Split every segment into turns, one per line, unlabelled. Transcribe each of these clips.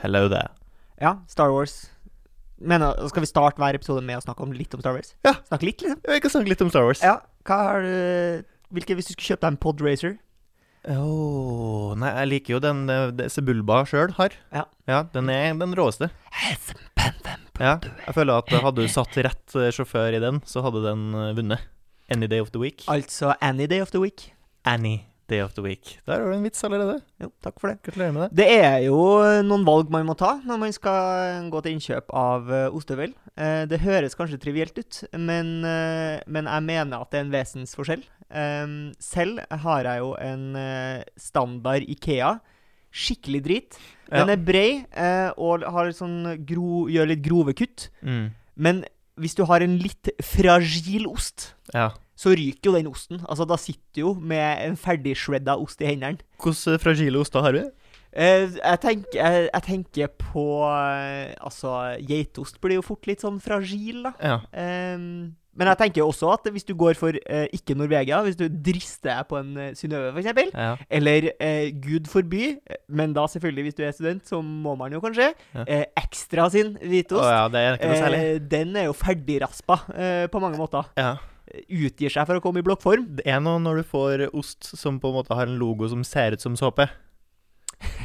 Hello there.
Ja, Star Wars. Men uh, skal vi starte hver episode med å snakke om litt om Star Wars?
Ja.
Snakke litt, liksom?
Vi kan snakke litt om Star Wars.
Ja. Hva har du Hvilke, Hvis du skulle kjøpt deg en Podracer
Åh, nei, jeg liker jo den eh, det Sebulba sjøl har.
Ja.
Den er den råeste. Ja, jeg føler at hadde du satt rett eh, sjåfør i den, så hadde den eh, vunnet. Any day of the week.
Altså Any Day of the Week.
Any day of the week. Der har du en vits allerede.
Jo, takk for det.
Gratulerer med det.
Det er jo noen valg man må ta når man skal gå til innkjøp av eh, ostehøvel. Eh, Det høres kanskje trivielt ut, men, eh, men jeg mener at det er en vesensforskjell. Eh, Selv har jeg jo en eh, standard Ikea. Skikkelig drit.
Ja.
Den er brei eh, og har sånn gro, gjør litt grove kutt.
Mm.
Men hvis du har en litt fragil ost,
Ja.
så ryker jo den osten. Altså, da sitter du jo med en ferdig shredda ost i hendene.
Hvordan fragile oster har vi?
Eh, jeg, tenker, jeg, jeg tenker på eh, Altså, geitost blir jo fort litt sånn fragil, da.
Ja.
Ehm, men jeg tenker også at hvis du går for eh, ikke Norvegia, hvis du drister deg på en eh, Synnøve, f.eks.,
ja.
eller eh, gud forby, eh, men da selvfølgelig hvis du er student, så må man jo kanskje,
Ja.
eh, ekstra sin
Å
hvitost.
ja, det er ikke noe særlig.
eh, den er jo ferdigraspa eh, på mange måter.
Ja.
Utgir seg for å komme i blokkform.
Det er noe når du får ost som på en måte har en logo som ser ut som såpe.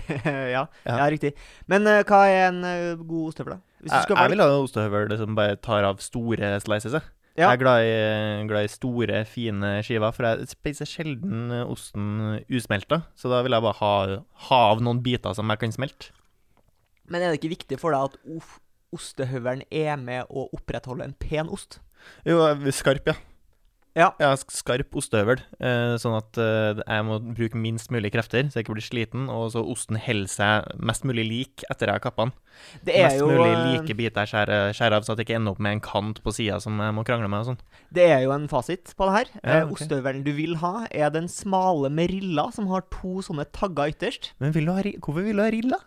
ja, ja.
Ja.
riktig. Men eh, hva er en eh, god ostehøvel, da? Hvis du
Jeg,
skal
jeg
velge
vil ha en ostehøvel som bare tar av store slices. jeg.
Ja.
Jeg er glad i, glad i store, fine skiver, for jeg spiser sjelden eh, osten usmelta. Så da vil jeg bare ha, ha av noen biter som jeg kan smelte.
Men er det ikke viktig for deg at of- ostehøvelen er med å opprettholde en pen ost?
Jo, jeg- skarp, ja.
Ja.
sk- Skarp ostehøvel, eh, sånn at eh, jeg må bruke minst mulig krefter, så jeg ikke blir sliten, og så osten holder seg mest mulig lik etter jeg har kappa den.
Det er,
mest
jo,
mulig
eh,
like biter skjære, skjære av, så at det ikke ender opp med en kant på sida som jeg må krangle med. og sånn.
det er jo en fasit på det her.
Ja,
Eh,
ok.
Ostehøvelen du vil ha, er den smale med riller som har to sånne tagger ytterst.
Men vil du ha, ri- hvorfor vil du ha rill, da?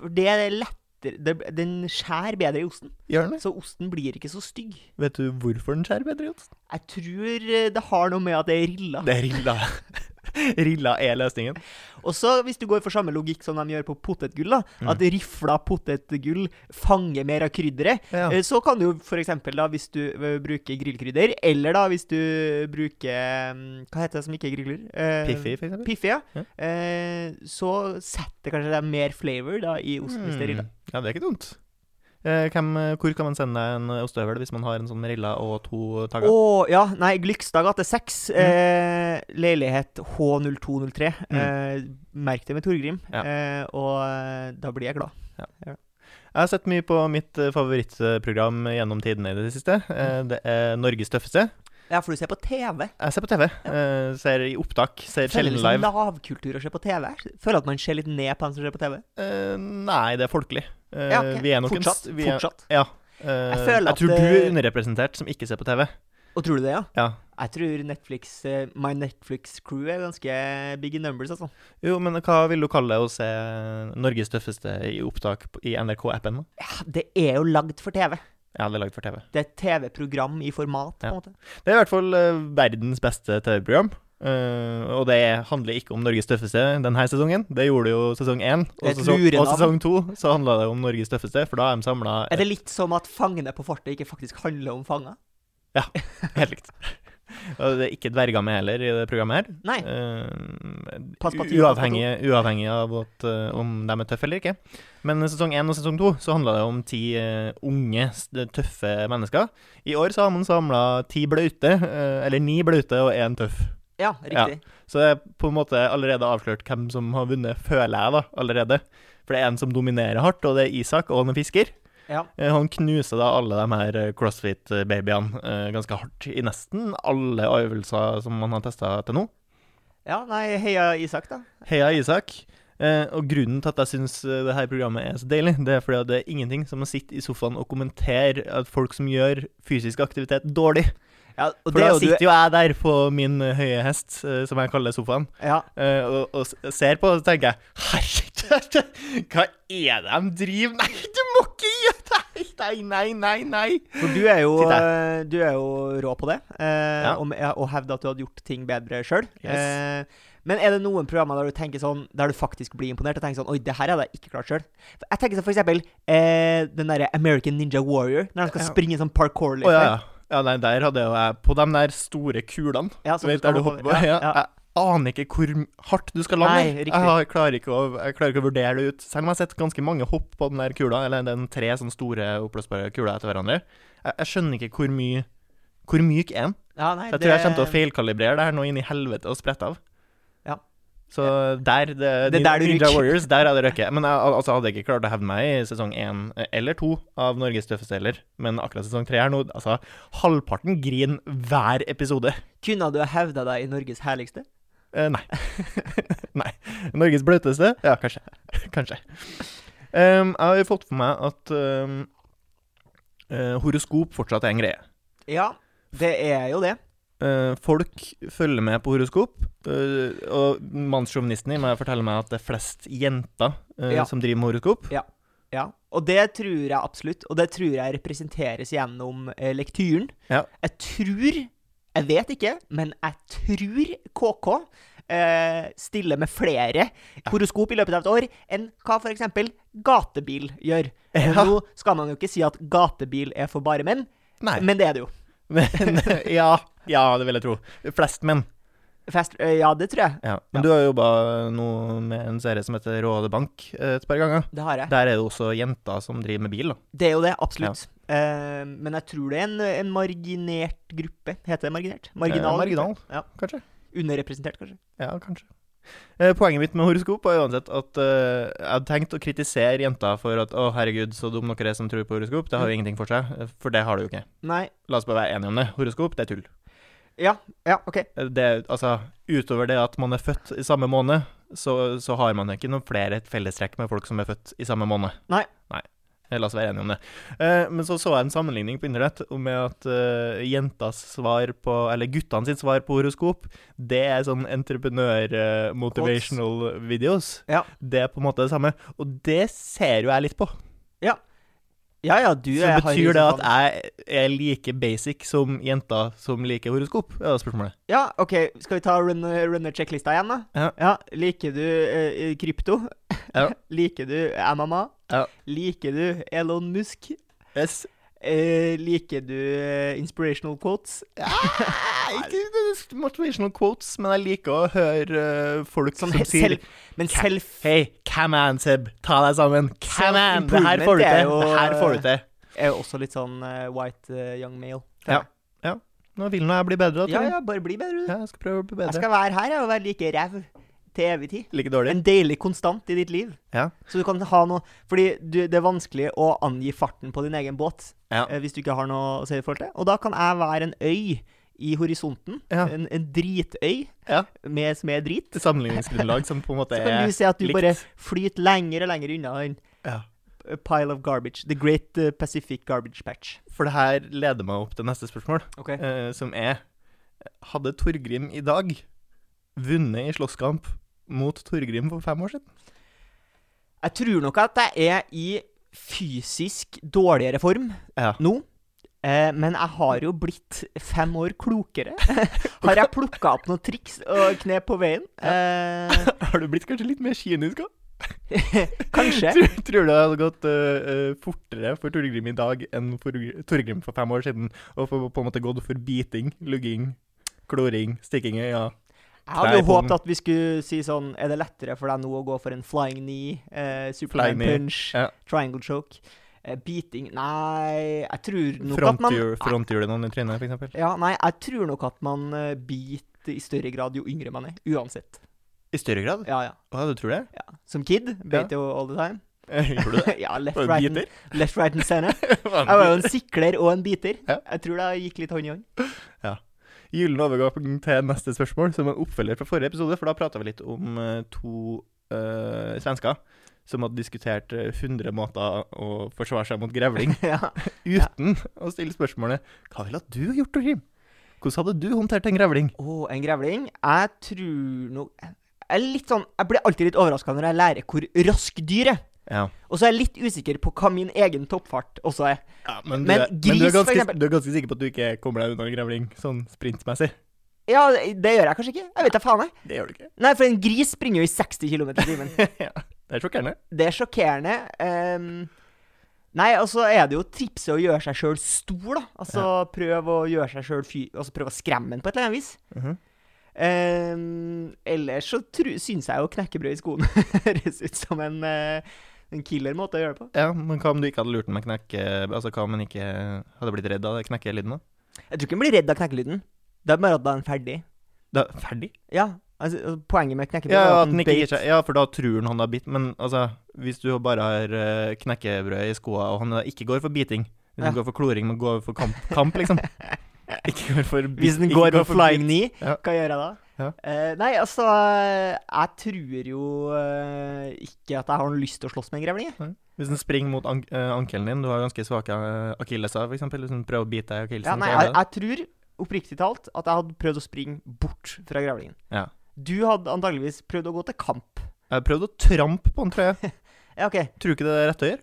For det er lettere det, Den skjærer bedre i osten,
Gjør den det?
så osten blir ikke så stygg.
Vet du hvorfor den skjærer bedre, Jots?
Jeg tror eh, det har noe med at det er riller.
Det er rilla. rilla er løsningen.
Og så hvis du går for samme logikk som de gjør på potetgull, da,
Mm.
at rifla potetgull fanger mer av krydderet,
Ja.
Eh, Så kan du jo for eksempel da, hvis du ø, bruker grillkrydder, eller da hvis du bruker mm, Hva heter det som ikke er grillkrydder? Eh,
Piffi, for eksempel.
Piffi, ja.
Ja.
Eh, så setter kanskje det mer flavor da, i osten
Mm.
hvis det er rilla.
Ja, det er ikke dumt. Eh, hvem, eh, hvor kan man sende deg en eh, ostehøvel hvis man har en sånn rilla og to
Å
tagger?
ja, nei, Glykstad gate 6.
Mm.
Eh, leilighet H0203. Eh, merk det med Torgrim,
Mm. Ja.
eh, og eh, da blir jeg glad.
Jeg har sett mye på mitt eh, favorittprogram gjennom tidene i det siste.
Mm.
Eh, det er Norges tøffeste.
Ja, for du ser på TV.
Jeg ser på TV. Eh, ser i opptak. Ser
Føler
sjelden
litt
live.
sånn lavkultur å se på TV. Føler at man ser litt ned på dem som ser på TV.
Eh, nei, det er folkelig. Eh,
Ja, ok.
Vi er nok en
fortsatt.
s- vi er,
fortsatt.
Ja. Eh,
Jeg
jeg,
føler at
tror du
det-
er underrepresentert som ikke ser på TV.
Og tror du det, ja?
Ja.
Jeg tror Netflix, eh, my Netflix-crew er ganske big in numbers, altså.
Jo, men hva vil du kalle det å se Norges tøffeste i opptak på- i NRK-appen? da?
Ja, det er jo lagd for TV.
Ja, det er lagd for TV.
Det er et TV-program i format, på en
Ja.
måte.
Det er i hvert fall eh, verdens beste TV-program. Eh, og det handler ikke om Norges tøffeste denne sesongen. Det gjorde jo sesong én.
Det
Og
er et
sesong, og
lurenavn.
sesong to så handla det om Norges tøffeste, for da er de samla
Er det litt som at 'Fangene på fortet' ikke faktisk handler om fanger?
helt likt. Og det er ikke dverger med heller i det programmet her.
Nei.
Eh,
Pass på
u-
tida,
uavhengig, uavhengig av at, eh, om de er tøffe eller ikke. Men sesong én og sesong to så handla det om ti eh, unge, s- tøffe mennesker. I år så har man samla ti blaute, eh, eller ni blaute og én tøff.
Ja, riktig.
Så det er på en måte allerede avslørt hvem som har vunnet, føler jeg da, allerede. For det er en som dominerer hardt, og det er Isak, og han er fisker.
Ja.
Eh, Han knuser da alle de her eh, crossfit-babyene eh, ganske hardt i nesten alle øvelser som man har testa til nå.
Ja, nei, heia Isak, da.
Heia Isak. Eh, og grunnen til at jeg syns det her programmet er så deilig, det er fordi at det er ingenting som å sitte i sofaen og kommentere at folk som gjør fysisk aktivitet dårlig.
Ja, og
For
det
da
er jo
sitter
du
jo jeg der på min eh, høye hest, eh, som jeg kaller sofaen,
ja.
eh, og, og s- ser på, og så tenker jeg Herregud, hva er det de driver Nei, du må ikke gjøre Nei, nei, nei, nei.
For du er jo,
Sitt
eh, du er jo rå på det, eh,
Ja.
og, med- ja, og hevder at du hadde gjort ting bedre sjøl.
Yes.
Eh, Men er det noen programmer der du tenker sånn Der du faktisk blir imponert og tenker sånn Oi, det her hadde jeg ikke klart sjøl. Jeg tenker sånn for eksempel eh, den derre American Ninja Warrior, når han skal
Ja.
springe sånn parkour.
Å ja, ja. ja nei, der hadde jo jeg På de der store kulene
Ja,
du
sånn
vet,
skal
der du
hoppe
hopper på
over.
ja,
Ja, ja.
Jeg aner ikke hvor m- hardt du skal lande.
Nei, riktig.
jeg, har, klarer ikke å, jeg klarer ikke å vurdere det ut. Selv om jeg har sett ganske mange hopp på den der kula, eller den tre sånne store oppblåsbare kula etter hverandre. Jeg, jeg skjønner ikke hvor mye Hvor myk er den?
Ja, nei,
Så jeg tror jeg kommer til å feilkalibrere det her nå inn i helvete og sprette av.
Ja.
Så der Det,
Det er der du
Ninja
ryker.
Warriors, der hadde jeg røkket. Men jeg al- altså, hadde jeg ikke klart å hevne meg i sesong én eh, eller to av Norges tøffeste heller. Men akkurat sesong tre her nå Altså, halvparten griner hver episode.
Kunne du ha hevda deg i Norges herligste?
Eh, nei. nei. Norges bløteste? Ja, kanskje. kanskje. Ehm, jeg har jo fått for meg at ehm, eh, horoskop fortsatt er en greie.
Ja, det er jo det.
Eh, folk følger med på horoskop, eh, og mannssjåvinisten i meg forteller meg at det er flest jenter eh,
Ja.
som driver med horoskop.
Ja, og det tror jeg absolutt, og det tror jeg representeres gjennom eh, lektyren.
Ja.
Jeg tror, jeg vet ikke, men jeg tror KK eh, stiller med flere horoskop i løpet av et år enn hva for eksempel gatebil gjør. Og
Ja.
Nå skal man jo ikke si at gatebil er for bare menn,
Nei.
men det er det jo.
Men, ja, ja, det vil jeg tro. Flest menn.
Fast, eh, ja, det tror jeg.
Ja. Men
Ja.
du har jobba nå med en serie som heter Råde Bank eh, et par ganger.
Det har jeg.
Der er det også jenter som driver med bil, da.
Det er jo det, absolutt. Eh, men jeg tror det er en, en marginert gruppe. Heter det marginert? Marginal.
Eh, marginal.
gruppe. Ja.
Kanskje.
Underrepresentert, kanskje.
Ja, kanskje. Eh, Poenget mitt med horoskop var uansett at eh, jeg hadde tenkt å kritisere jenter for at å, herregud, så dum dere er som tror på horoskop. Det har jo ingenting for seg, eh, for det har det jo ikke.
Nei.
La oss bare være enige om det. Horoskop, det er tull.
Ja, ja, OK.
Eh, Det, altså, utover det at man er født i samme måned, så, så har man ikke noen flere fellestrekk med folk som er født i samme måned.
Nei.
Nei. Eh, La oss være enige om det. Eh, men så så jeg en sammenligning på internett om med at eh, jentas svar på, eller guttene sitt svar på horoskop, det er sånn entreprenør-motivational videos.
Ja.
Det er på en måte det samme. Og det ser jo jeg litt på.
Ja, ja, du
Så
jeg har
betyr det
liksom
at
sånn-
jeg er like basic som jenta som liker horoskop? Ja, det er spørsmålet.
Ja, OK, skal vi ta runner runner checklista igjen, da?
Ja.
Liker du eh, krypto?
Ja.
liker du MMA?
Ja.
Liker du Elon Musk?
Yes.
Eh, liker du eh, inspirational quotes?
Nei, ikke motivational quotes, men jeg liker å høre eh, folk som,
Sånn he-
sier
selv, men
Ca-
selv
Hei, come on, Seb. Ta deg sammen. Come on. Det her
Self-improvement
får du
er
til.
jo-
Det her får du til.
er jo også litt sånn eh, white eh, young male.
Ja. Nå vil nå jeg bli bedre. da,
ja,
tror jeg.
ja, bare bli bedre, du.
ja, jeg skal prøve å bli
Jeg
bedre.
skal være her jeg, og være like ræv til evig tid.
Like dårlig.
En deilig konstant i ditt liv.
Ja.
Så du kan ha noe Fordi du, det er vanskelig å angi farten på din egen båt
Ja.
eh, hvis du ikke har noe å si i forhold til. Og da kan jeg være en øy i horisonten.
Ja.
En, en dritøy
Ja.
med, som er drit.
Et Sammenligningsgrunnlag som på en måte
Så
er
kan du se at du
likt.
bare flyter lenger og lenger unna den
Ja.
eh, pile of garbage. The Great eh, Pacific Garbage Patch.
For det her leder meg opp til neste spørsmål,
Ok.
eh, som er Hadde Torgrim i dag vunnet i slåsskamp mot Torgrim for fem år siden?
Jeg tror nok at jeg er i fysisk dårligere form
Ja.
nå. Eh, men jeg har jo blitt fem år klokere. har jeg plukka opp noen triks og knep på veien? Eh,
Har du blitt kanskje litt mer kynisk òg?
kanskje.
Tror, tror du det hadde gått øh, øh, fortere for Torgrim i dag enn for Torgrim for fem år siden? Og for, på en måte gått for biting, lugging, kloring, stikking i øya?
Jeg hadde jo
Nei, på den.
håpet at vi skulle si sånn Er det lettere for deg nå å gå for en flying knee, eh,
Flying
Superman
knee,
punch,
ja.
triangle choke, eh, beating Nei, jeg tror nok at man
Fronthjul- Fronthjulet noen i trynet, f.eks.?
Ja, nei, jeg tror nok at man eh, biter i større grad jo yngre man er. Uansett.
I større grad?
Ja, ja.
Hva, du tror det?
ja. Som kid beit jo all the time.
Gjorde du det?
ja, left,
Var det
right, and,
biter?
left, right and center.
Var
Jeg
det
var jo
biter?
en sikler og en biter.
Ja.
Jeg tror det gikk litt hånd i hånd.
Gyllen overgang til neste spørsmål, som en oppfølger fra forrige episode. For da prata vi litt om øh, to øh, svensker som hadde diskutert øh, 100 måter å forsvare seg mot grevling.
ja.
uten å stille spørsmålet Hva ville du ha gjort, Torgrim? Hvordan hadde du håndtert en grevling?
Å, en grevling. Jeg tror no... Jeg er litt sånn Jeg blir alltid litt overraska når jeg lærer hvor rask dyr er.
Ja,
Og så er jeg litt usikker på hva min egen toppfart også er.
men,
Men
du, er- men
gris,
du, er
for
ganske,
eksempel.
du er ganske sikker på at du ikke kommer deg unna en grevling, sånn sprintmessig?
Ja, det gjør jeg kanskje ikke. Jeg vet da faen, jeg.
Det gjør du ikke.
Nei, for en gris springer jo i 60 km i timen.
ja. Det er sjokkerende.
Det er sjokkerende. ehm, nei, altså er det jo tipset å gjøre seg sjøl stor, da. Altså prøv å gjøre seg sjøl fy... Altså prøv å skremme den på et eller annet vis.
Mhm.
Ehm, ellers så tru- syns jeg jo knekkebrød i skoen høres ut som en, eh, en killer måte å gjøre det på.
Ja, men hva om du ikke hadde lurt den med knekke... Altså, hva om den ikke hadde blitt redd av det knekkelyden, da?
Jeg tror ikke han blir redd av knekkelyden. Det er bare at da er han ferdig.
Da, ferdig?
Ja, altså, altså poenget med knekkebrød
Ja,
er
at den ikke
beit-
gir seg. Ja, for da tror han han har bitt. Men altså, hvis du bare har eh, knekkebrød i skoa, og han da ikke går for biting Hvis han
Ja.
går for kloring, men går for kamp, kamp liksom. Ikke går for bit-
Hvis den
ikke
går for flying knee,
Ja.
hva gjør jeg da?
Ja.
Eh, nei, altså Jeg tror jo eh, ikke at jeg har noe lyst til å slåss med en grevling. jeg.
Hvis den springer mot an eh, ankelen din, du har ganske svake eh, akilleser, for eksempel. Hvis den prøver å bite deg i akillesen.
Ja, nei,
så er
jeg,
det-
jeg tror oppriktig talt at jeg hadde prøvd å springe bort fra grevlingen.
Ja.
Du hadde antageligvis prøvd å gå til kamp.
Jeg har prøvd å trampe på den, tror jeg.
Ja, ok.
Tror du ikke det er rett å gjøre?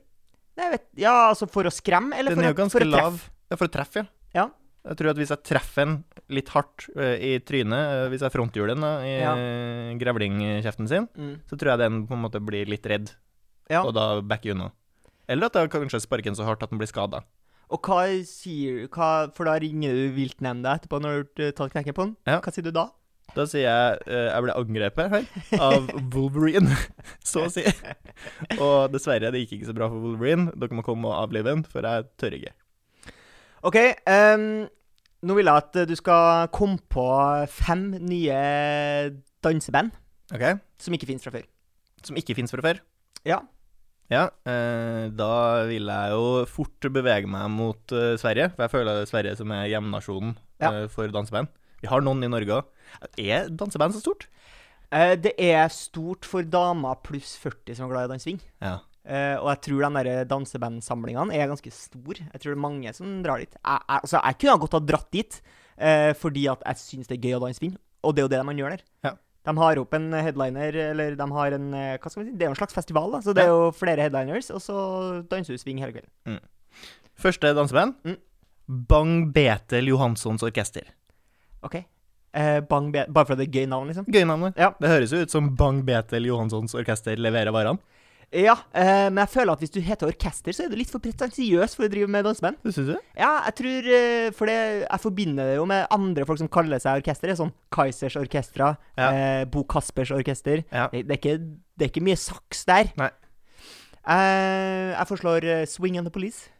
Nei, jeg vet, ja, altså for å skremme, eller
Den er jo
for, å, for
ganske
å treffe?
lav. Ja, for å treffe, ja.
Ja.
Jeg tror at hvis jeg treffer den litt hardt eh, i trynet, eh, hvis jeg fronthjuler den da, i
Ja.
eh, grevlingkjeften sin,
Mm.
så tror jeg den på en måte blir litt redd,
Ja.
og da backer unna. Eller at jeg kanskje sparker den så hardt at den blir skada.
Og hva sier du? Hva, for da ringer du viltnemnda etterpå når du har tatt knekken på den.
Ja.
Hva sier du da?
Da sier jeg eh, jeg ble angrepet her av Wolverine, så å si. Og dessverre, det gikk ikke så bra for Wolverine. Dere må komme og avlive den, for jeg tør ikke.
Ok, ehm, nå vil jeg at du skal komme på fem nye danseband
Ok?
som ikke finnes fra før.
Som ikke fins fra før.
Ja.
Ja, eh, da vil jeg jo fort bevege meg mot eh, Sverige, for jeg føler det er Sverige som er hjemnasjonen
Ja.
eh, for danseband. Vi har noen i Norge òg. Er danseband så stort?
Eh, det er stort for damer pluss 40 som er glad i dansing.
Ja.
Eh, og jeg tror de der dansebandsamlingene er ganske store. Jeg tror det er mange som drar dit. Jeg, jeg, altså, jeg kunne ha godt ha dratt dit, eh, fordi at jeg syns det er gøy å danse vind. Og det er jo det man gjør der.
Ja.
De har opp en headliner, eller de har en eh, Hva skal vi si? Det er jo en slags festival, da. Så det er jo flere headliners, og så danser du swing hele kvelden.
Første danseband?
Mm.
Bang Betel Johanssons Orkester.
Ok. Eh, bang Be bare fordi det er gøy navn, liksom?
Gøy navn.
Ja.
Det høres jo ut som Bang Betel Johanssons Orkester leverer varene.
Ja, eh, men jeg føler at hvis du heter orkester, så er du litt for pretensiøs for å drive med danseband.
Det syns du?
Ja, jeg tror eh, For det, jeg forbinder det jo med andre folk som kaller seg orkester. det er Sånn Kaizers Orkestra,
Ja.
eh, Bo Kaspers Orkester.
Ja.
Det, det, er ikke, det er ikke mye saks der.
Nei.
Eh, jeg forslår eh, Swing and the Police.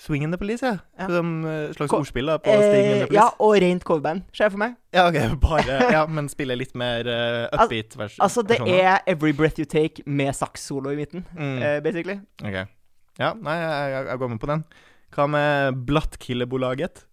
Swing in the Police, ja.
Ja.
Som eh, slags
Ko-
ordspill da, på Sting in the
Eh, ja,
Police.
og rent coverband, ser jeg for meg.
Ja, ok, bare Ja, men spille litt mer eh, upbeat vers
Altså, det
versjoner.
er Every Breath You Take med saks-solo i midten,
Mm,
eh, basically.
Ok. Ja, nei, jeg, jeg- jeg går med på den. Hva med Blattkillebolaget?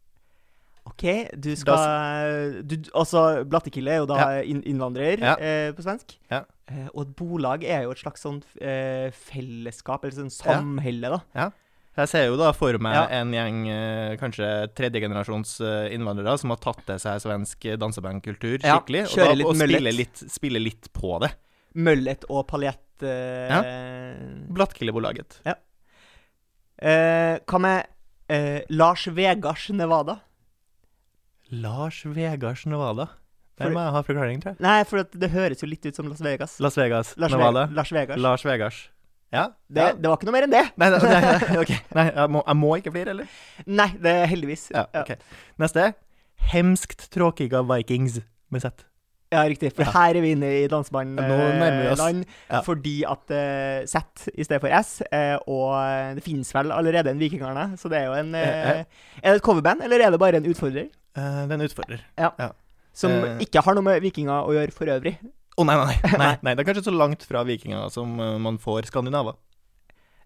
OK, du skal du, Altså, Blattekille er jo da inn, innvandrer
Ja.
eh, på svensk.
Ja.
Eh, og et bolag er jo et slags sånn eh, fellesskap, eller sånn samhelle, da.
Jeg ser jo da for meg
Ja.
en gjeng eh, kanskje tredjegenerasjons eh, innvandrere som har tatt til seg svensk eh, dansebandkultur
Ja,
skikkelig, og,
kjører
da,
litt
og
møllet.
spiller, litt, spiller litt på det.
Møllet og paljett eh,
Blattkillebolaget.
eh, Hva med eh, Lars Vegars Nevada?
Lars Vegars Nevada. Der
Fordi-
må jeg ha forklaring, tror jeg.
Nei, for at det høres jo litt ut som Las Vegas.
Las Vegas,
Lars, Ve-
Nevada.
Lars Vegars.
Lars Vegars. Ja?
det,
ja.
det var ikke noe mer enn det.
Nei, nei, nei, nei, ok. nei jeg, må, jeg må ikke flire, eller?
Nei, det er heldigvis.
Ja, ok. Neste. Hemskt tråkiga Vikings med Z.
Ja, riktig. For
Ja.
her er vi inne i
Ja, nå nærmer vi oss.
dansebandland.
Ja.
Fordi at eh, Z i stedet for S, eh, og det finnes vel allerede en Vikingarne, så det er jo en eh,
Eh,
Er det et coverband, eller er det bare en utfordrer?
Eh, den utfordrer.
Som
Eh.
ikke har noe med vikinger å gjøre for øvrig.
Å nei, nei, nei, nei, nei. Det er kanskje så langt fra vikinger som eh, man får skandinaver.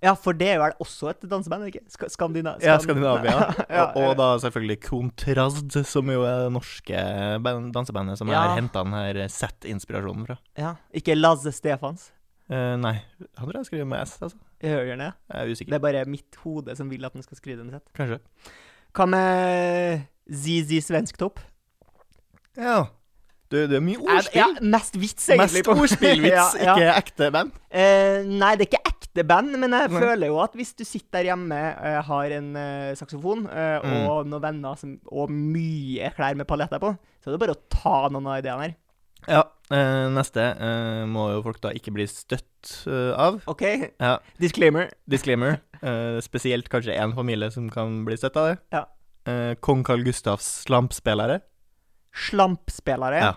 Ja, for det er vel også et danseband, ikke? Sk Skandina
Ja,
Skan-
Skandinavia.
ja,
og, og da selvfølgelig Kontrast, som jo er det norske ban- dansebandet som jeg
Ja.
har henta denne Z-inspirasjonen fra.
ja. Ikke Lasse Stefans.
Eh, nei, han tror jeg skriver med S, altså.
Jeg hører den, ja.
Jeg er usikker.
Det er bare mitt hode som vil at den skal skrive den sett.
Kanskje.
Hva med ZZ Svensktopp?
Ja. Du, det er mye
Er det- Ja,
ordspill.
mest vits, egentlig.
Mest ordspillvits,
Ja, ja.
ikke ekte band.
Eh, nei, det er ikke ekte ekte band, men jeg
Nei.
føler jo at hvis du sitter der hjemme, eh, har en eh, saksofon eh,
Mm.
og noen venner som, og mye klær med paletter på, så er det bare å ta noen av ideene her.
Ja, eh, neste eh, må jo folk da ikke bli støtt eh, av.
OK?
Ja,
Disclaimer.
disclaimer. Eh, spesielt kanskje én familie som kan bli støtt av det.
Ja.
Eh, Kong Carl Gustavs slampspillere.
Slampspillere.
Ja.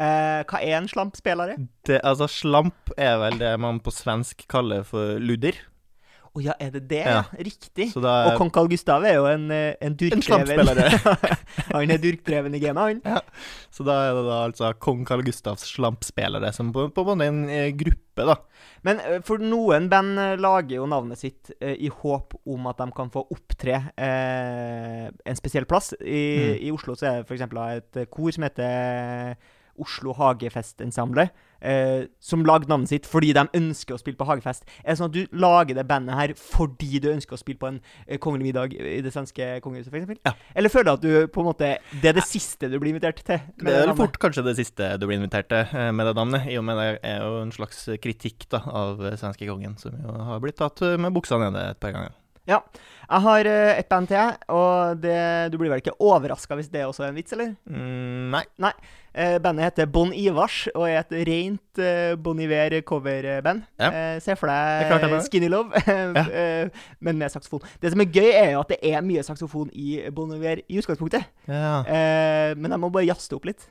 Eh, hva er en slampspillere?
Det, altså, slamp er vel det man på svensk kaller for ludder.
Å ja, er det det?
Ja.
Riktig.
Så da
Og kong Carl Gustav er jo en, eh, en durkdreven Han er durkdreven i gamet, han.
Så da er det da altså kong Carl Gustavs slampspillere, som på, på en måte er en eh, gruppe, da.
Men eh, for noen band eh, lager jo navnet sitt eh, i håp om at de kan få opptre eh, en spesiell plass. I,
Mm.
I Oslo så er det f.eks. et eh, kor som heter eh, Oslo Hagefestensemble, eh, som lagde navnet sitt fordi de ønsker å spille på hagefest. Er det sånn at du lager det bandet her fordi du ønsker å spille på en eh, kongelig middag i det svenske kongehuset, f.eks.?
Ja.
Eller føler du at du på en måte Det er det siste du blir invitert til? med
Det er vel
navnet?
fort kanskje det siste du blir invitert til eh, med det navnet, i og med det er jo en slags kritikk da, av eh, svenske kongen, som jo har blitt tatt eh, med buksa nede et par ganger.
Jeg har eh, et band til, jeg, og det, du blir vel ikke overraska hvis det også er en vits, eller?
Mm, nei.
Eh, bandet heter Bon Ivars og er et rent eh, Bon Iver coverband.
Ja.
Eh, Se for
Det er klart
deg
det er det.
Skinny Love,
Ja.
eh, men med saksofon. Det som er gøy, er jo at det er mye saksofon i Bon Iver i utgangspunktet,
Ja.
eh, men jeg må bare jazze det opp litt.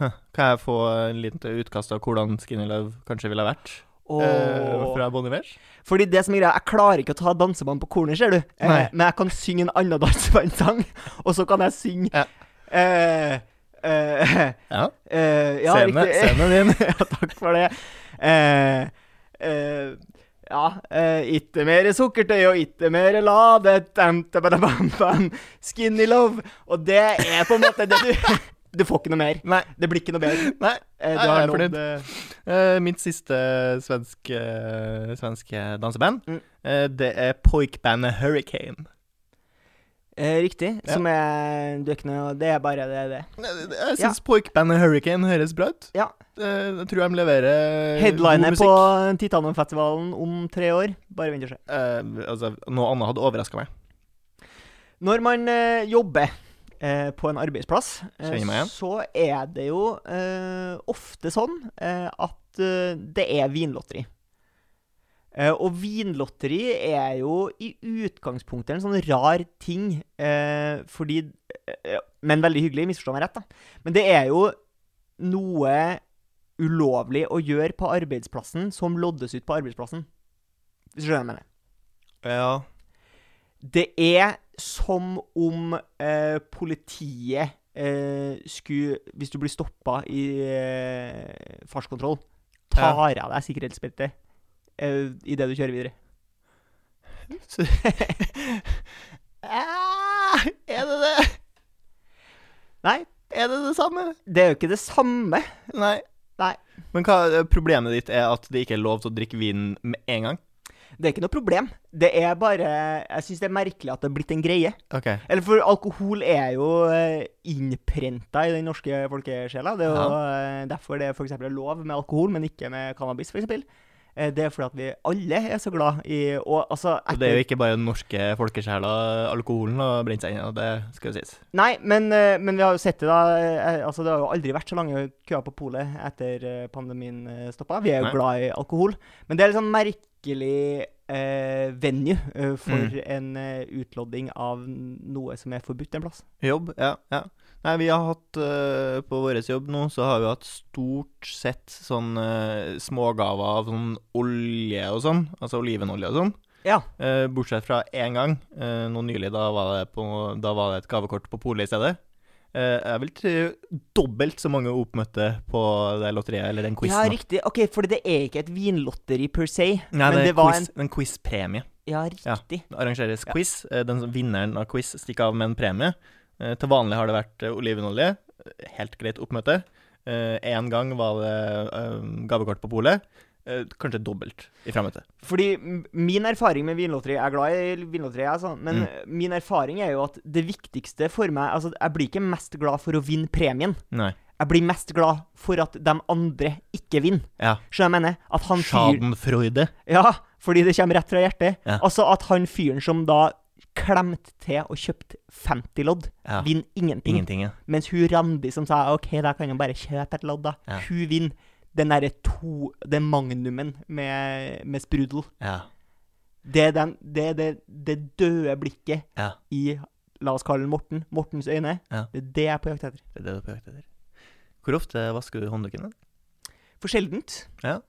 Huh. Kan jeg få en liten til utkast av hvordan Skinny Love kanskje ville ha vært?
Og...
eh, fra Bon Iver?
Fordi det som er greia, jeg klarer ikke å ta dansemann på kornet, ser du. Eh,
Nei.
men jeg kan synge en annen dansemannsang, og så kan jeg synge
Ja.
eh, eh,
Ja.
eh, ja,
Scene,
riktig.
scenen din.
ja, takk for det. Eh, eh, ja eh, Itte mer sukkertøy og itte mer lade dam, dam, dam, dam, dam. Skinny love. Og det er på en måte det du Du får ikke noe mer.
Nei.
Det blir ikke noe bedre.
Nei. Nei,
Eh, du har
jeg er fornøyd.
nådd eh,
Eh, mitt siste svenske, svenske danseband,
Mm.
eh, det er poikbandet Hurricane.
eh, riktig.
Ja.
Som er Du er ikke noe Det er bare det. det.
Eh, Jeg
Ja.
syns poikbandet Hurricane høres bra ut.
Ja.
Eh, jeg tror de leverer Eh, god
Headliner
musikk.
på Titanumfestivalen om tre år. Bare vent og se.
Eh, altså, noe annet hadde overraska meg.
Når man eh, jobber eh, på en arbeidsplass, eh,
Kjenner meg igjen.
så er det jo eh, ofte sånn eh, at eh, det er vinlotteri. Eh, og vinlotteri er jo i utgangspunktet en sånn rar ting, eh, fordi eh, Men veldig hyggelig, misforstå meg rett, da. Men det er jo noe ulovlig å gjøre på arbeidsplassen som loddes ut på arbeidsplassen. Hvis du skjønner hva jeg mener.
Ja.
Det er som om eh, politiet eh, skulle Hvis du blir stoppa i eh, fartskontroll, tar av deg sikkerhetsbeltet eh, idet du kjører videre.
Ah, er det det?
Nei,
Er det det samme?
det er jo ikke det samme.
Nei.
Nei.
Men hva, eh, problemet ditt er at det ikke er lov til å drikke vin med en gang?
Det er ikke noe problem. Det er bare Jeg syns det er merkelig at det er blitt en greie.
Ok.
Eller for alkohol er jo eh, innprenta i den norske folkesjela. Det er jo eh, derfor det f.eks. er lov med alkohol, men ikke med cannabis, f.eks. Det er fordi at vi alle er så glad i Og altså
Og det er jo ikke bare den norske folkesjela alkoholen har brent seg inn i, og det skal jo sies.
Nei, men, eh, men vi har jo sett det, da. eh, Altså, det har jo aldri vært så lange køer på polet etter eh, pandemien eh, stoppa. Vi er jo
Nei.
glad i alkohol. Men det er litt sånn merkelig eh, venue eh, for
Mm.
en eh, utlodding av noe som er forbudt en plass.
Jobb, ja. ja. Nei, vi har hatt eh, På vår jobb nå så har vi hatt stort sett sånn eh, smågaver av sånn olje og sånn. Altså olivenolje og sånn.
Ja.
Eh, bortsett fra én gang, eh, nå nylig. Da var, det på, da var det et gavekort på polet i stedet. Eh, jeg vil tro dobbelt så mange oppmøtte på det lotteriet, eller den
Ja,
quizen. da.
riktig. Ok, for det er ikke et vinlotteri per se.
Nei,
men
det,
det
er
var
quiz, en quizpremie.
Ja, riktig.
Det arrangeres
Ja.
quiz. Eh, Den som vinneren av quiz stikker av med en premie. Eh, Til vanlig har det vært eh, olivenolje. Eh, Helt greit oppmøte. Én gang var det eh, gavekort på polet. Eh, Kanskje dobbelt i fremmøte.
Fordi m- min erfaring med vinlotteri Jeg er glad i vinlotteri, jeg, altså. Men
Mm.
min erfaring er jo at det viktigste for meg Altså, jeg blir ikke mest glad for å vinne premien.
Nei.
Jeg blir mest glad for at de andre ikke vinner.
Ja.
Så jeg mener at han fyren
Schadenfreude.
Ja, fordi det kommer rett fra hjertet.
Ja.
Altså at han fyren som da klemte til og kjøpte 50 lodd,
Ja.
vinner ingenting.
Ingenting, ja.
Mens hun Randi som sa OK, da kan jeg bare kjøpe et lodd, da.
Ja.
Hun vinner den derre to Den magnumen med, med sprudel.
ja.
Det er den, det, er det, det døde blikket
Ja.
i La oss kalle den Morten. Mortens øyne.
Ja.
Det er det jeg er på jakt etter.
Det er det du er på jakt etter. Hvor ofte vasker du håndduken? din?
For sjeldent.
Ja.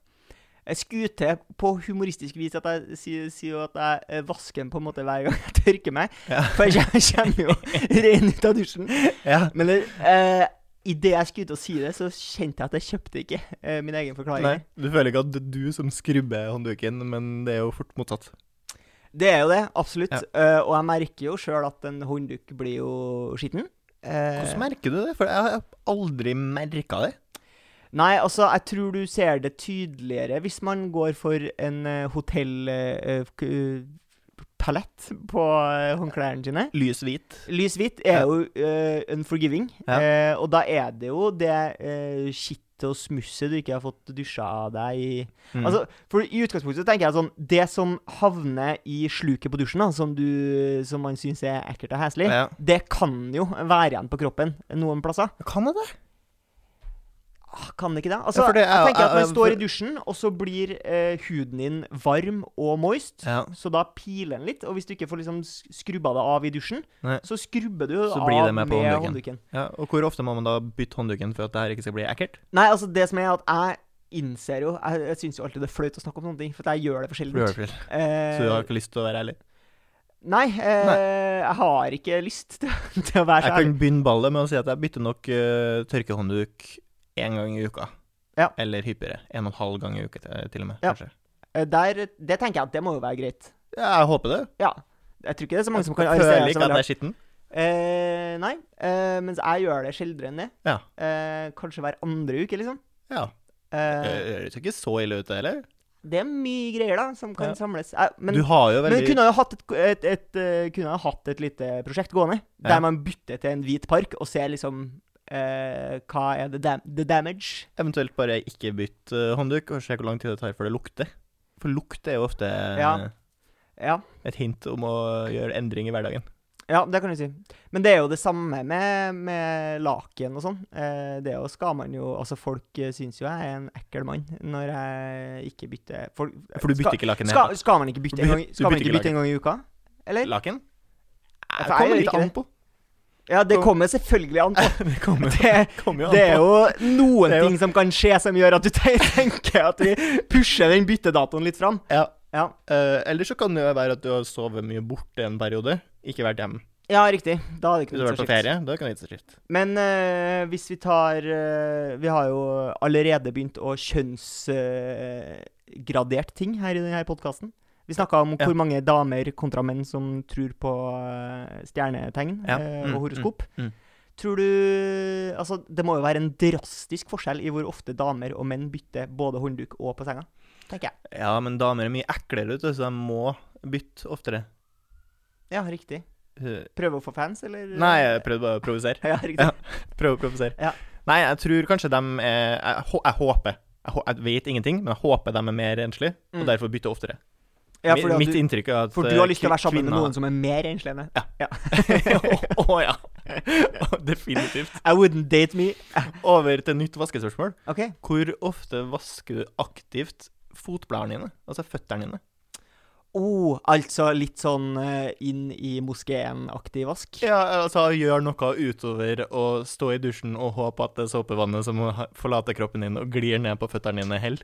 Jeg skuer til på humoristisk vis at jeg sier, sier jo at jeg eh, vasker den på en måte hver gang jeg tørker meg.
Ja.
For jeg kjem- kommer jo ren ut av dusjen.
Ja.
Men eh, idet jeg skulle ut og si det, så kjente jeg at jeg kjøpte ikke eh, min egen forklaring.
Nei, du føler ikke at det er du som skrubber håndduken, men det er jo fort motsatt.
Det er jo det, absolutt.
Ja.
Eh, og jeg merker jo sjøl at en håndduk blir jo skitten. Eh,
Hvordan merker du det? For jeg har aldri merka det.
Nei, altså, jeg tror du ser det tydeligere hvis man går for en eh, uh, hotellpalett på eh, håndklærne sine.
Lys hvit.
Lys hvitt
Ja.
er jo eh, unforgiving,
Ja.
eh, og da er det jo det uh, skittet og smusset du ikke har fått dusja av deg i
Mm.
Altså, for I utgangspunktet så tenker jeg sånn Det som havner i sluket på dusjen, da, som, du, som man syns er ekkelt og heslig,
ja.
det kan jo være igjen på kroppen noen plasser.
Kan jeg det?
Ah, Kan det ikke det? Altså,
Ja, for det er- eh,
jeg tenker at
jeg-
man
jeg-
står i dusjen, og så blir eh, huden din varm og moist.
Ja.
Så da piler den litt, og hvis du ikke får liksom s- skrubba det av i dusjen,
Nei.
så skrubber du
Så
av
blir det med
med,
på håndduken.
håndduken.
ja. Og hvor ofte må man da bytte håndduken for at det her ikke skal bli ekkelt?
Nei, altså det som er at jeg innser jo Jeg, jeg syns jo alltid det er flaut å snakke om sånne ting, for at jeg gjør det for
For du gjør
sjelden.
det selv. Så
Eh,
du har ikke lyst til å være ærlig?
Nei, eh, jeg har ikke lyst til, til å være
Jeg
så ærlig.
kan begynne ballet med å si at jeg bytter nok eh, tørkehåndduk én gang i uka.
Ja.
Eller hyppigere. En og en halv gang i uka til, til og med,
Ja.
kanskje.
Eh, Der, det tenker jeg at det må jo være greit.
Ja, jeg håper det.
Ja. Jeg tror ikke det er så mange som kan
Jeg føler
arrestere seg
ikke
veldig
at jeg er skitten.
Eh, nei, eh, mens jeg gjør det sjeldnere enn det.
Ja.
Eh, kanskje hver andre uke, liksom.
Ja. Det
Eh,
høres ikke så ille ut, det heller.
det er mye greier da, som kan
Ja.
samles. Eh, men,
Du har jo
men
veldig
vi kunne jo hatt et, et, et, eh, kunne jo hatt et lite prosjekt gående,
Ja.
der man bytter til en hvit park og ser liksom eh, hva er the, dam the damage?
Eventuelt bare ikke bytt eh, håndduk, og se hvor lang tid det tar før det lukter. For lukt er jo ofte eh,
Ja. Ja.
et hint om å gjøre endring i hverdagen.
ja, det kan du si. Men det er jo det samme med, med laken og sånn. Eh, det er jo skal man jo Altså, folk eh, syns jo jeg er en ekkel mann når jeg ikke bytter folk,
For du
skal-
bytter ikke laken ned?
Skal, skal man ikke bytte en gang,
Du
skal man
bytter
ikke
ikke
bytte en gang i uka? Eller?
Laken?
Ja,
Det
for jeg
kommer
gjør
litt
ikke
an
det.
på.
Ja, det kommer selvfølgelig an på.
Det kommer,
Det-
kommer jo an
Det er
på.
jo noen
Det er jo-
ting som kan skje som gjør at du te- tenker at vi pusher den byttedatoen litt fram.
Ja.
Ja.
Eh, eller så kan det jo være at du har sovet mye borte en periode. Ikke vært hjemme.
Ja, riktig. Da hadde
Hvis
det ikke
du har
blitt
vært
så
på
kjipt.
ferie, da kan det ikke så skift.
Men eh, hvis vi tar eh, Vi har jo allerede begynt å kjønnsgradert ting her i denne podkasten. Vi snakka om
Ja.
hvor mange damer kontra menn som tror på eh, stjernetegn
Ja.
eh,
Mm,
og horoskop.
mm, mm.
Tror du Altså, det må jo være en drastisk forskjell i hvor ofte damer og menn bytter både håndduk og på senga, tenker jeg.
Ja, men damer er mye eklere, vet du, så de må bytte oftere.
Ja, riktig.
Eh,
Prøve å få fans, eller?
Nei, jeg prøvde bare å provosere.
Ja, riktig.
Ja. Prøve å provosere.
Mm. Ja.
Nei, jeg tror kanskje de er Jeg, hå- jeg håper. Jeg, hå- jeg vet ingenting, men jeg håper de er mer renslige,
Mm.
og derfor bytter oftere.
Ja,
Mi-
fordi at
Mitt
du,
inntrykk er at eh,
for du har lyst til å være sammen med noen som er mer enslig enn deg.
Å å, ja. Definitivt.
I wouldn't date me.
Over til nytt vaskespørsmål.
OK.
Hvor ofte vasker du aktivt fotbladene dine? Altså føttene dine?
Oh, altså litt sånn eh, inn i moskeen-aktig vask?
Ja, altså gjør noe utover å stå i dusjen og håpe at det såpevannet som ha- forlater kroppen din og glir ned på føttene dine, heller.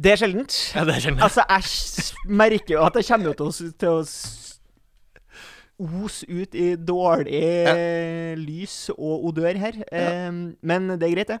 Det er sjeldent.
Ja, det kjenner jeg.
Altså, jeg s- merker jo at jeg kommer jo til å, s- til å s- os ut i dårlig eh, lys og odør her. Eh, men det er greit, det.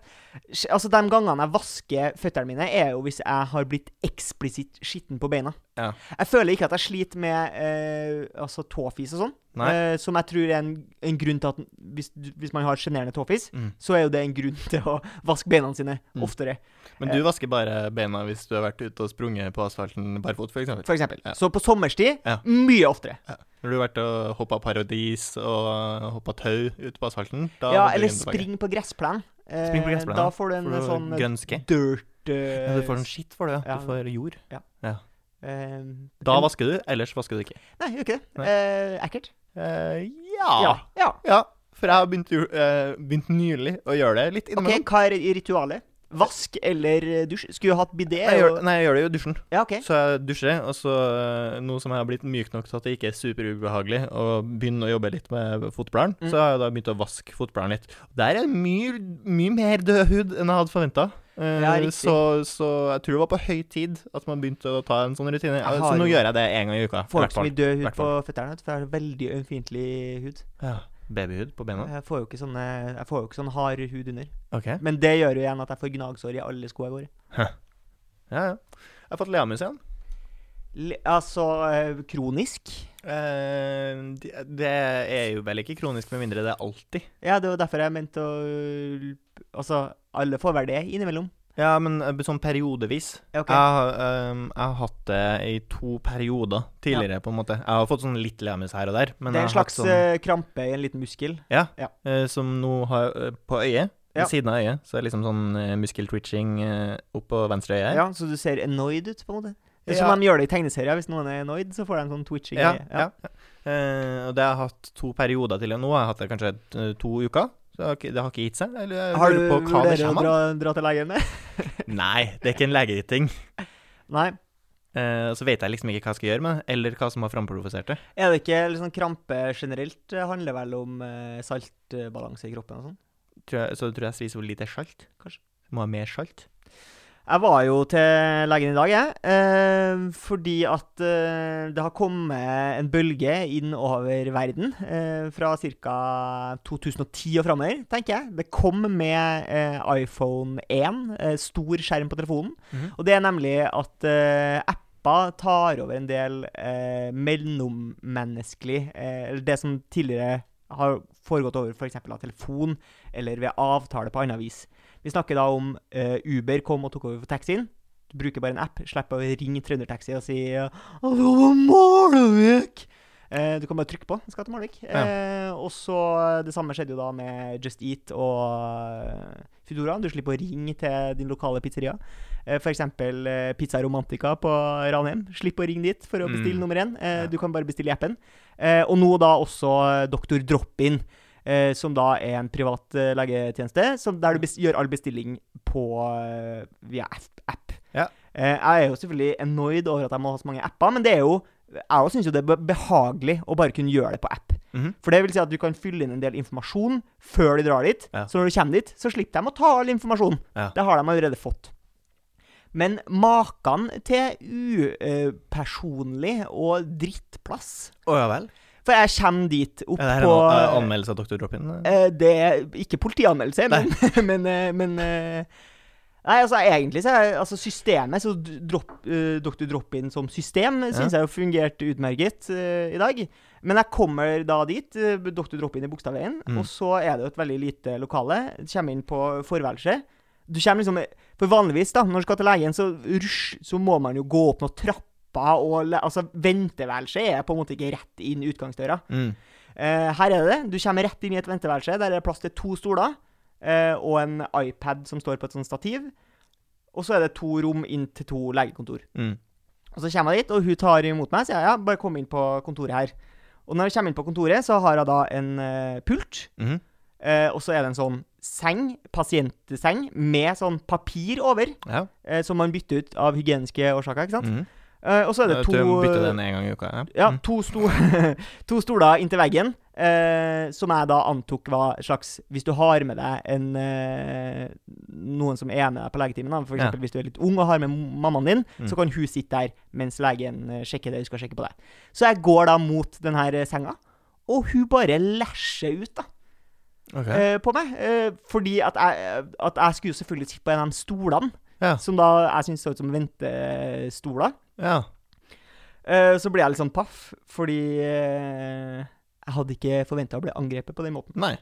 Sj- Altså, De gangene jeg vasker føttene mine, er jo hvis jeg har blitt eksplisitt skitten på beina.
Ja.
Jeg føler ikke at jeg sliter med eh, altså tåfis og sånn,
Nei.
eh, som jeg tror er en, en grunn til at hvis, du- hvis man har sjenerende tåfis,
Mm.
så er jo det en grunn til å vaske beina sine
Mm.
oftere,
Men du vasker bare beina hvis du har vært ute og sprunget på asfalten barfot, f.eks.?
for eksempel.
Ja.
Så på sommerstid
Ja.
mye oftere.
Når du har vært og hoppa paradis og hoppa tau ute på asfalten da
ja,
må du
eller
inn tilbake.
spring på gressplen. Eh,
Spring på gressplen,
Da
ja.
får du en
Får du
sånn
grønske?
dirt eh,
eh, Ja, du får sånn skitt for det, ja.
ja.
Du får jord.
eh,
Da
en-
vasker du, ellers vasker du ikke.
Nei, gjør ikke det.
Nei.
Eh, ekkelt.
Eh, ja. ja.
Ja. ja.
For jeg har begynt, jo- eh, begynt nylig å gjøre det litt
OK,
innimellom.
hva er i ritualet? Vask eller eh, dusj? Skulle jo hatt bidé.
Jeg gjør,
og-
nei, jeg gjør det jo i dusjen.
Ja, OK.
Så jeg dusjer, og så eh, nå som jeg har blitt myk nok til at det ikke er superubehagelig å begynne å jobbe litt med fotbladeren,
Mm.
så har jeg da begynt å vaske fotbladeren litt. Der er det mye, mye mer død hud enn jeg hadde forventa.
Ja, riktig.
så, så jeg tror det var på høy tid at man begynte å ta en sånn rutine.
Jeg
så
har
nå
jo-
gjør jeg det én gang i uka. i
Får
hvert
ikke så
fall.
mye død hud
hvert
på føttene, vet du, for jeg har veldig ømfintlig hud.
Ja, babyhud på bena.
Jeg får jo ikke, sånne, jeg får jo ikke sånn hard hud under.
OK.
Men det gjør jo igjen at jeg får gnagsår i alle sko jeg går i.
Ja, ja. Jeg har fått leamus igjen.
Le- Altså eh, kronisk.
Eh, det, det er jo vel ikke kronisk med mindre det er alltid.
Ja, det var derfor jeg mente å Altså, alle får vel det innimellom.
Ja, men eh, sånn periodevis.
Ja, OK.
Jeg, har, ehm, jeg har hatt det i to perioder tidligere, på en måte. Jeg har fått sånn litt leamus her og der. Men
det er
jeg har
en
hatt
slags
sånn,
eh, krampe i en liten muskel.
eh, som nå har eh, på øyet.
Ja.
Ved siden av øyet. Så er det liksom sånn eh, muskeltwitching eh, oppå venstre øye. her.
Ja, Så du ser annoyed ut, på en måte. Det er
Ja.
som de gjør det i tegneserier. Hvis noen er annoyed, så får de en sånn twitching.
Ja,
greie.
ja. Eh, og det har jeg hatt to perioder til. Nå har jeg hatt det kanskje eh, to uker. Så det har ikke, det har ikke gitt seg. Eller jeg
Har du
lurer på hva det
vurdert å
kommer
dra, dra til legen med?
av. Nei, det er ikke en legeting.
Nei.
Eh, så vet jeg liksom ikke hva jeg skal gjøre med det, eller hva som har framprovosert det.
Er det ikke liksom krampe generelt? Det handler vel om eh, saltbalanse i kroppen og sånn?
Tror jeg- Så tror jeg jeg spiser for lite salt, kanskje. Må ha mer salt.
Jeg var jo til legen i dag, jeg. Eh, fordi at eh, det har kommet en bølge inn over verden. Eh, fra ca. 2010 og framover, tenker jeg. Det kom med eh, iPhone 1. Eh, stor skjerm på telefonen.
Mhm.
Og det er nemlig at eh, apper tar over en del eh, mellommenneskelig eh, Eller det som tidligere har foregått over f.eks. av telefon eller ved avtale på annet vis. Vi snakker da om eh, Uber kom og tok over for taxien. Du bruker bare en app, slipper å ringe Trøndertaxi og si eh, «Hallo, Malvik!» Eh, Du kan bare trykke på 'Skal til Malvik'. Eh, og så eh, Det samme skjedde jo da med Just Eat og eh, Foodora. Du slipper å ringe til din lokale pizzeria. Eh, for eksempel eh, Pizza Romantica på Ranheim. Slipp å ringe dit for å
Mm.
bestille nummer én. Eh,
Ja.
Du kan bare bestille i appen. Eh, og nå da også eh, Doktor Drop-In. Eh, som da er en privat eh, legetjeneste, som der du bes gjør all bestilling på eh, via app. app.
Ja.
Eh, jeg er jo selvfølgelig annoyed over at jeg må ha så mange apper, men det er jo jeg syns jo det er be- behagelig å bare kunne gjøre det på app.
Mhm.
For det vil si at du kan fylle inn en del informasjon før du drar dit.
Ja.
Så når du kommer dit, så slipper de å ta all informasjon.
Ja.
Det har de allerede fått. Men maken til upersonlig og drittplass
Å ja vel.
For jeg kommer dit opp
Er det her
på
en eh, anmeldelse av Dr. Drop-in? eh?
Eh, Det er ikke politianmeldelse, men, men, eh, men eh, Nei, altså egentlig så er altså systemet så d- drop, eh, Dr. Drop-in som system syns jeg jo fungerte utmerket eh, i dag. Men jeg kommer da dit, eh, Dr. Drop-in i Bogstadveien,
Mm.
og så er det jo et veldig lite lokale. Kommer inn på forværelset. Du kommer liksom For vanligvis, da, når du skal til legen, så, rush, så må man jo gå opp noen trapper og le- Altså, venteværelset er på en måte ikke rett inn utgangsdøra.
Mm.
Eh, her er det. Du kommer rett inn i et venteværelse. Der er det plass til to stoler eh, og en iPad som står på et sånt stativ. Og så er det to rom inn til to legekontor.
Mm.
Og så kommer jeg dit, og hun tar imot meg og sier ja, bare kom inn på kontoret her. Og når jeg kommer inn på kontoret, så har jeg da en eh, pult.
Mhm.
Eh, og så er det en sånn seng, pasientseng, med sånn papir over,
Ja.
eh, som man bytter ut av hygieniske årsaker, ikke sant?
Mhm.
Eh, og så er det
Jeg
to
tror jeg må bytte den en gang i uka. Ja.
ja,
Mm.
to, sto to stoler inntil veggen, eh, som jeg da antok var slags Hvis du har med deg en, eh, noen som er med deg på legetimen, da, for
Ja.
eksempel hvis du er litt ung og har med m- mammaen din,
Mm.
så kan hun sitte der mens legen eh, sjekker det hun skal sjekke på deg. Så jeg går da mot den her eh, senga, og hun bare lasjer ut, da
Ok.
eh, på meg. eh, fordi at jeg, at jeg skulle jo selvfølgelig sitte på en av de stolene,
Ja.
som da jeg syns så ut som ventestoler.
ja.
Eh, så ble jeg litt sånn paff, fordi eh, jeg hadde ikke forventa å bli angrepet på den måten.
Nei.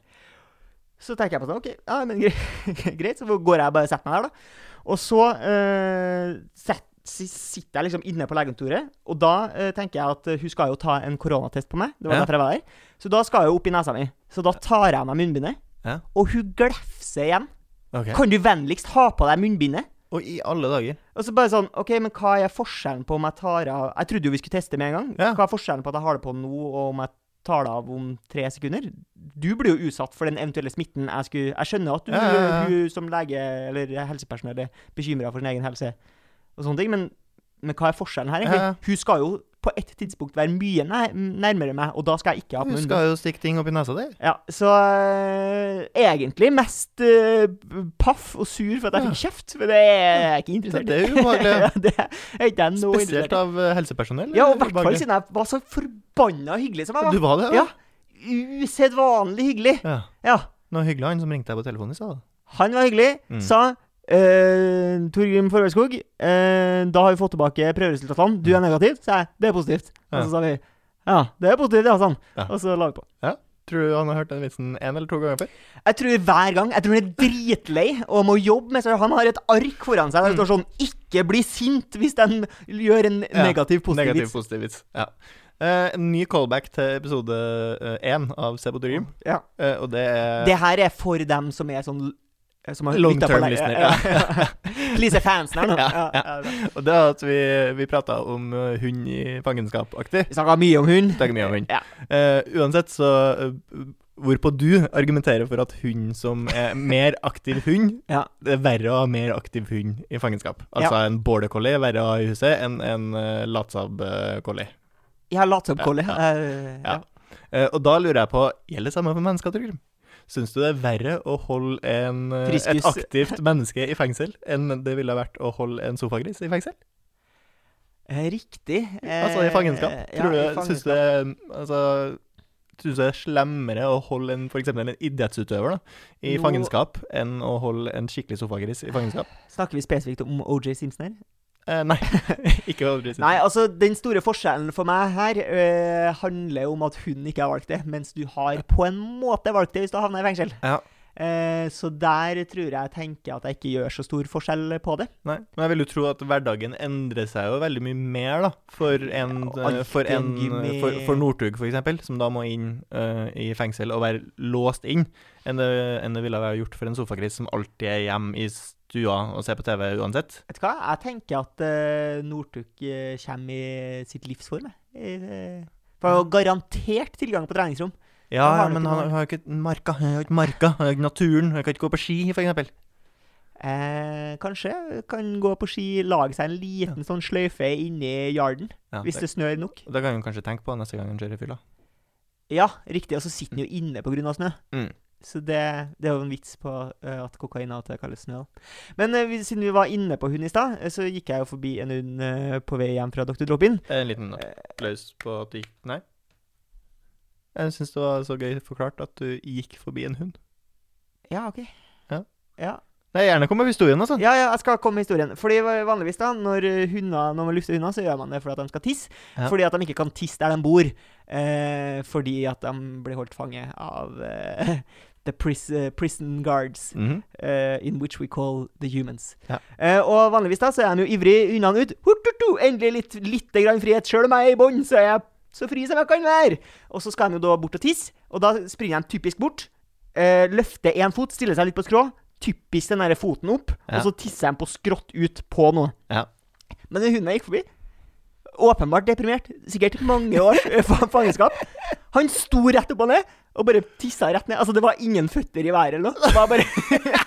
Så tenker jeg på sånn, ok, ja, men gre greit, så går jeg og bare og setter meg der, da. Og så eh, sett, si- sitter jeg liksom inne på legekontoret, og da eh, tenker jeg at eh, hun skal jo ta en koronatest på meg. Det var
Ja.
derfor jeg var der. Så da skal jeg jo opp i nesa mi. Så da tar jeg av meg munnbindet,
Ja.
og hun glefser igjen.
Ok.
Kan du vennligst ha på deg munnbindet?
Og i alle dager.
Og så bare sånn OK, men hva er forskjellen på om jeg tar av Jeg trodde jo vi skulle teste med en gang.
Ja.
Hva er forskjellen på at jeg har det på nå, og om jeg tar det av om tre sekunder? Du blir jo utsatt for den eventuelle smitten jeg skulle Jeg skjønner at du,
Ja, ja, ja.
hun som lege eller helsepersonell er bekymra for sin egen helse og sånne ting, men, men hva er forskjellen her, egentlig?
Ja, ja.
Hun skal jo på et tidspunkt være mye nær, nærmere meg, og da skal jeg ikke ha på
Du
munnbind.
skal jo stikke ting opp i nesa di.
Ja, så eh, egentlig mest eh, paff og sur for at jeg fikk kjeft, for det er jeg ikke interessert i.
Det er ubehagelig.
ja, det er ikke jeg noe
Spesielt
interessert i.
av eh, helsepersonell.
Ja,
eller
og i hvert fall
ubehagelig?
siden jeg var så forbanna hyggelig som jeg
Du
var.
var det? da?
Ja, Usedvanlig hyggelig.
ja.
Ja,
Nå hyggelig han som ringte deg på telefonen i stad.
han var hyggelig,
Mm.
sa eh, Torgrim Forvellskog, eh, da har vi fått tilbake prøveresultatene. Du er negativ, sa jeg. Det er positivt. Og så sa vi ja, det er positivt, ja, sa han.
Ja.
Og så la vi på.
Tror du han har hørt den vitsen én eller to ganger før?
Jeg tror hver gang Jeg tror han er dritlei og må jobbe med seg. Han har et ark foran seg der det står sånn 'Ikke bli sint hvis den gjør en
Ja,
negativ positiv
Negativ
vits'.
positiv vits. Ja. Eh, en ny callback til episode én av Se på Dream,
Ja.
eh, og det er
Det her er for dem som er sånn eh, som har
Long
lyttet på
term
lenge.
listener,
Ja, ja. Please er fansen her nå.
Ja,
Ja, ja, ja.
Og det er at vi, vi prata om eh, hund i fangenskap-aktig.
Vi snakka mye om hund.
Snakker mye om hund.
Ja.
Eh, uansett så eh, Hvorpå du argumenterer for at hund som er mer aktiv hund
Ja.
Det er verre å ha mer aktiv hund i fangenskap. Altså en border collie er verre å ha i huset enn en uh, latsab-collie.
Jeg har latsoppkollet.
Ja,
Ja,
ja.
ja.
Eh, og da lurer jeg på Gjelder det samme for mennesker, Torgrim? Syns du det er verre å holde en, eh, et
Friskus.
aktivt menneske i fengsel enn det ville vært å holde en sofagris i fengsel?
Eh, Riktig. Eh,
Altså i fangenskap?
ja,
Tror du,
i
Syns du det er altså, Syns du det er slemmere å holde en, for eksempel en idrettsutøver da, i
Nå-
fangenskap enn å holde en skikkelig sofagris i fangenskap?
Snakker vi spesifikt om OJ Simpson her?
Eh, nei. ikke aldri siden.
Nei, altså den store forskjellen for meg her øh, handler jo om at hun ikke har valgt det, mens du har på en måte valgt det hvis du havner i fengsel.
Ja.
Eh, så der tror jeg jeg tenker at jeg ikke gjør så stor forskjell på det.
Nei. Men jeg vil jo tro at hverdagen endrer seg jo veldig mye mer, da. For en, eh,
Ja, alltid
for, en,
en gymmi-
for, for Northug, for eksempel, som da må inn eh, i fengsel og være låst inn, enn det, enn det ville ha vært gjort for en sofagris som alltid er hjemme i stua og ser på TV uansett.
Vet du hva? Jeg tenker at øh, Northug øh, kommer i sitt livsform. jeg. Eh, For han har garantert tilgang på treningsrom.
Ja,
Da har
ja
du
men
ikke
han
noe.
har jo ikke marka, han har jo ikke marka, han har ikke naturen, han kan ikke gå på ski, for eksempel.
Eh, kanskje kan gå på ski, lage seg en liten sånn sløyfe inni yarden,
Ja,
hvis
det,
det snør nok.
det kan han kanskje tenke på neste gang han kjører i fylla.
Ja, riktig. Og så sitter den jo inne pga. snø.
Mm.
Så det, det er jo en vits på eh, at kokain av og til kalles snø. da. Men eh, vi, siden vi var inne på hund i stad, eh, så gikk jeg jo forbi en hund eh, på vei hjem fra Dr. Drop-In.
En liten applaus på at du gikk Nei. Jeg syns det var så gøy forklart at du gikk forbi en hund.
Ja, OK.
Ja.
ja.
Nei, gjerne kom med historien, altså.
Ja, ja, jeg skal komme med historien. Fordi vanligvis da, når, hunder, når man lufter hunder, så gjør man det fordi at de skal tisse.
Ja.
Fordi at de ikke kan tisse der de bor. Eh, fordi at de blir holdt fange av eh, the pris, eh, prison guards.
Mhm.
eh, in which we call the humans.
Ja.
Eh, og vanligvis da, så er de jo ivrig unna den ut. Hurt, hurt, hurt, endelig litt, lite grann frihet. Sjøl om jeg er i bånn, så er jeg så fri som jeg kan være. Og så skal de jo da bort og tisse, og da springer de typisk bort. eh, løfter én fot, stiller seg litt på skrå. Typisk den derre foten opp,
Ja.
og så tisser de på skrått ut på noe.
Ja.
Men den hunden jeg gikk forbi, åpenbart deprimert, sikkert mange års eh, fa- fangenskap, han sto rett opp og ned, og bare tissa rett ned. Altså, det var ingen føtter i været eller noe. Det var bare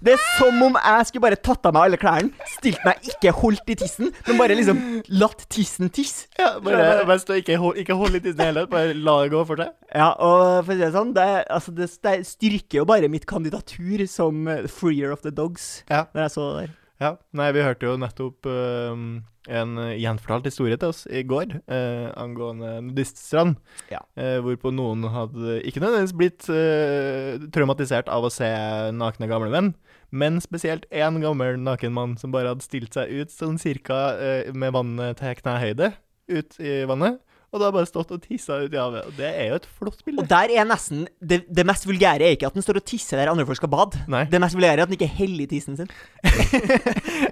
Det er som om jeg skulle bare tatt av meg alle klærne, stilt meg ikke holdt i tissen, men bare liksom latt tissen tisse.
Ja, bare, bare stå, ikke, hold, ikke hold litt i det hele tatt, bare la det gå for seg.
Ja, og for å si det sånn, det, altså, det, det styrker jo bare mitt kandidatur som eh, freer of the dogs,
Ja.
når jeg så det der.
Ja, nei, vi hørte jo nettopp øhm, en øh, gjenfortalt historie til oss i går øh, angående nudiststrand,
Ja.
øh, hvorpå noen hadde ikke nødvendigvis blitt øh, traumatisert av å se nakne gamle menn, men spesielt én gammel naken mann som eh, bare hadde stilt seg ut sånn cirka øh, med vannet til knehøyde ut i vannet, Og da har jeg bare stått og tissa ut i havet. Og det er jo et flott bilde.
Og der er nesten Det, det mest vulgære er ikke at den står og tisser der andre folk skal bade.
Nei,
Det mest vulgære er at den ikke heller tissen sin.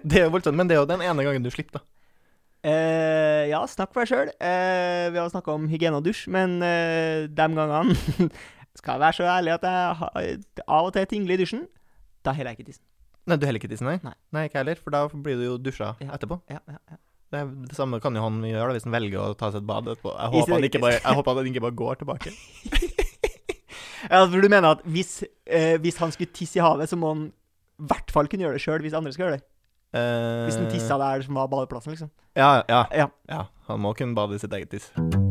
det er jo voldsomt, men det er jo den ene gangen du slipper, da.
Eh, ja, snakk for deg sjøl. Eh, vi har snakka om hygiene og dusj, men eh, de gangene Skal jeg være så ærlig at jeg har- av og til tingler i dusjen, da heller jeg ikke tissen.
Nei, du heller ikke tissen, nei?
Nei.
ikke heller, for da blir du jo dusja
Ja.
etterpå.
Ja, ja, ja.
Det, er, det samme kan jo han gjøre da, hvis han velger å ta seg et bad etterpå. Jeg
I
håper, han
stedet-
ikke bare, jeg håper han ikke bare går tilbake.
ja for du mener at hvis, eh, hvis han skulle tisse i havet, så må han i hvert fall kunne gjøre det sjøl hvis andre skal gjøre det? Eh. Hvis han tissa der som var badeplassen, liksom.
Eh, Ja, ja.
Ja.
ja. Han må kunne bade i sitt eget tiss.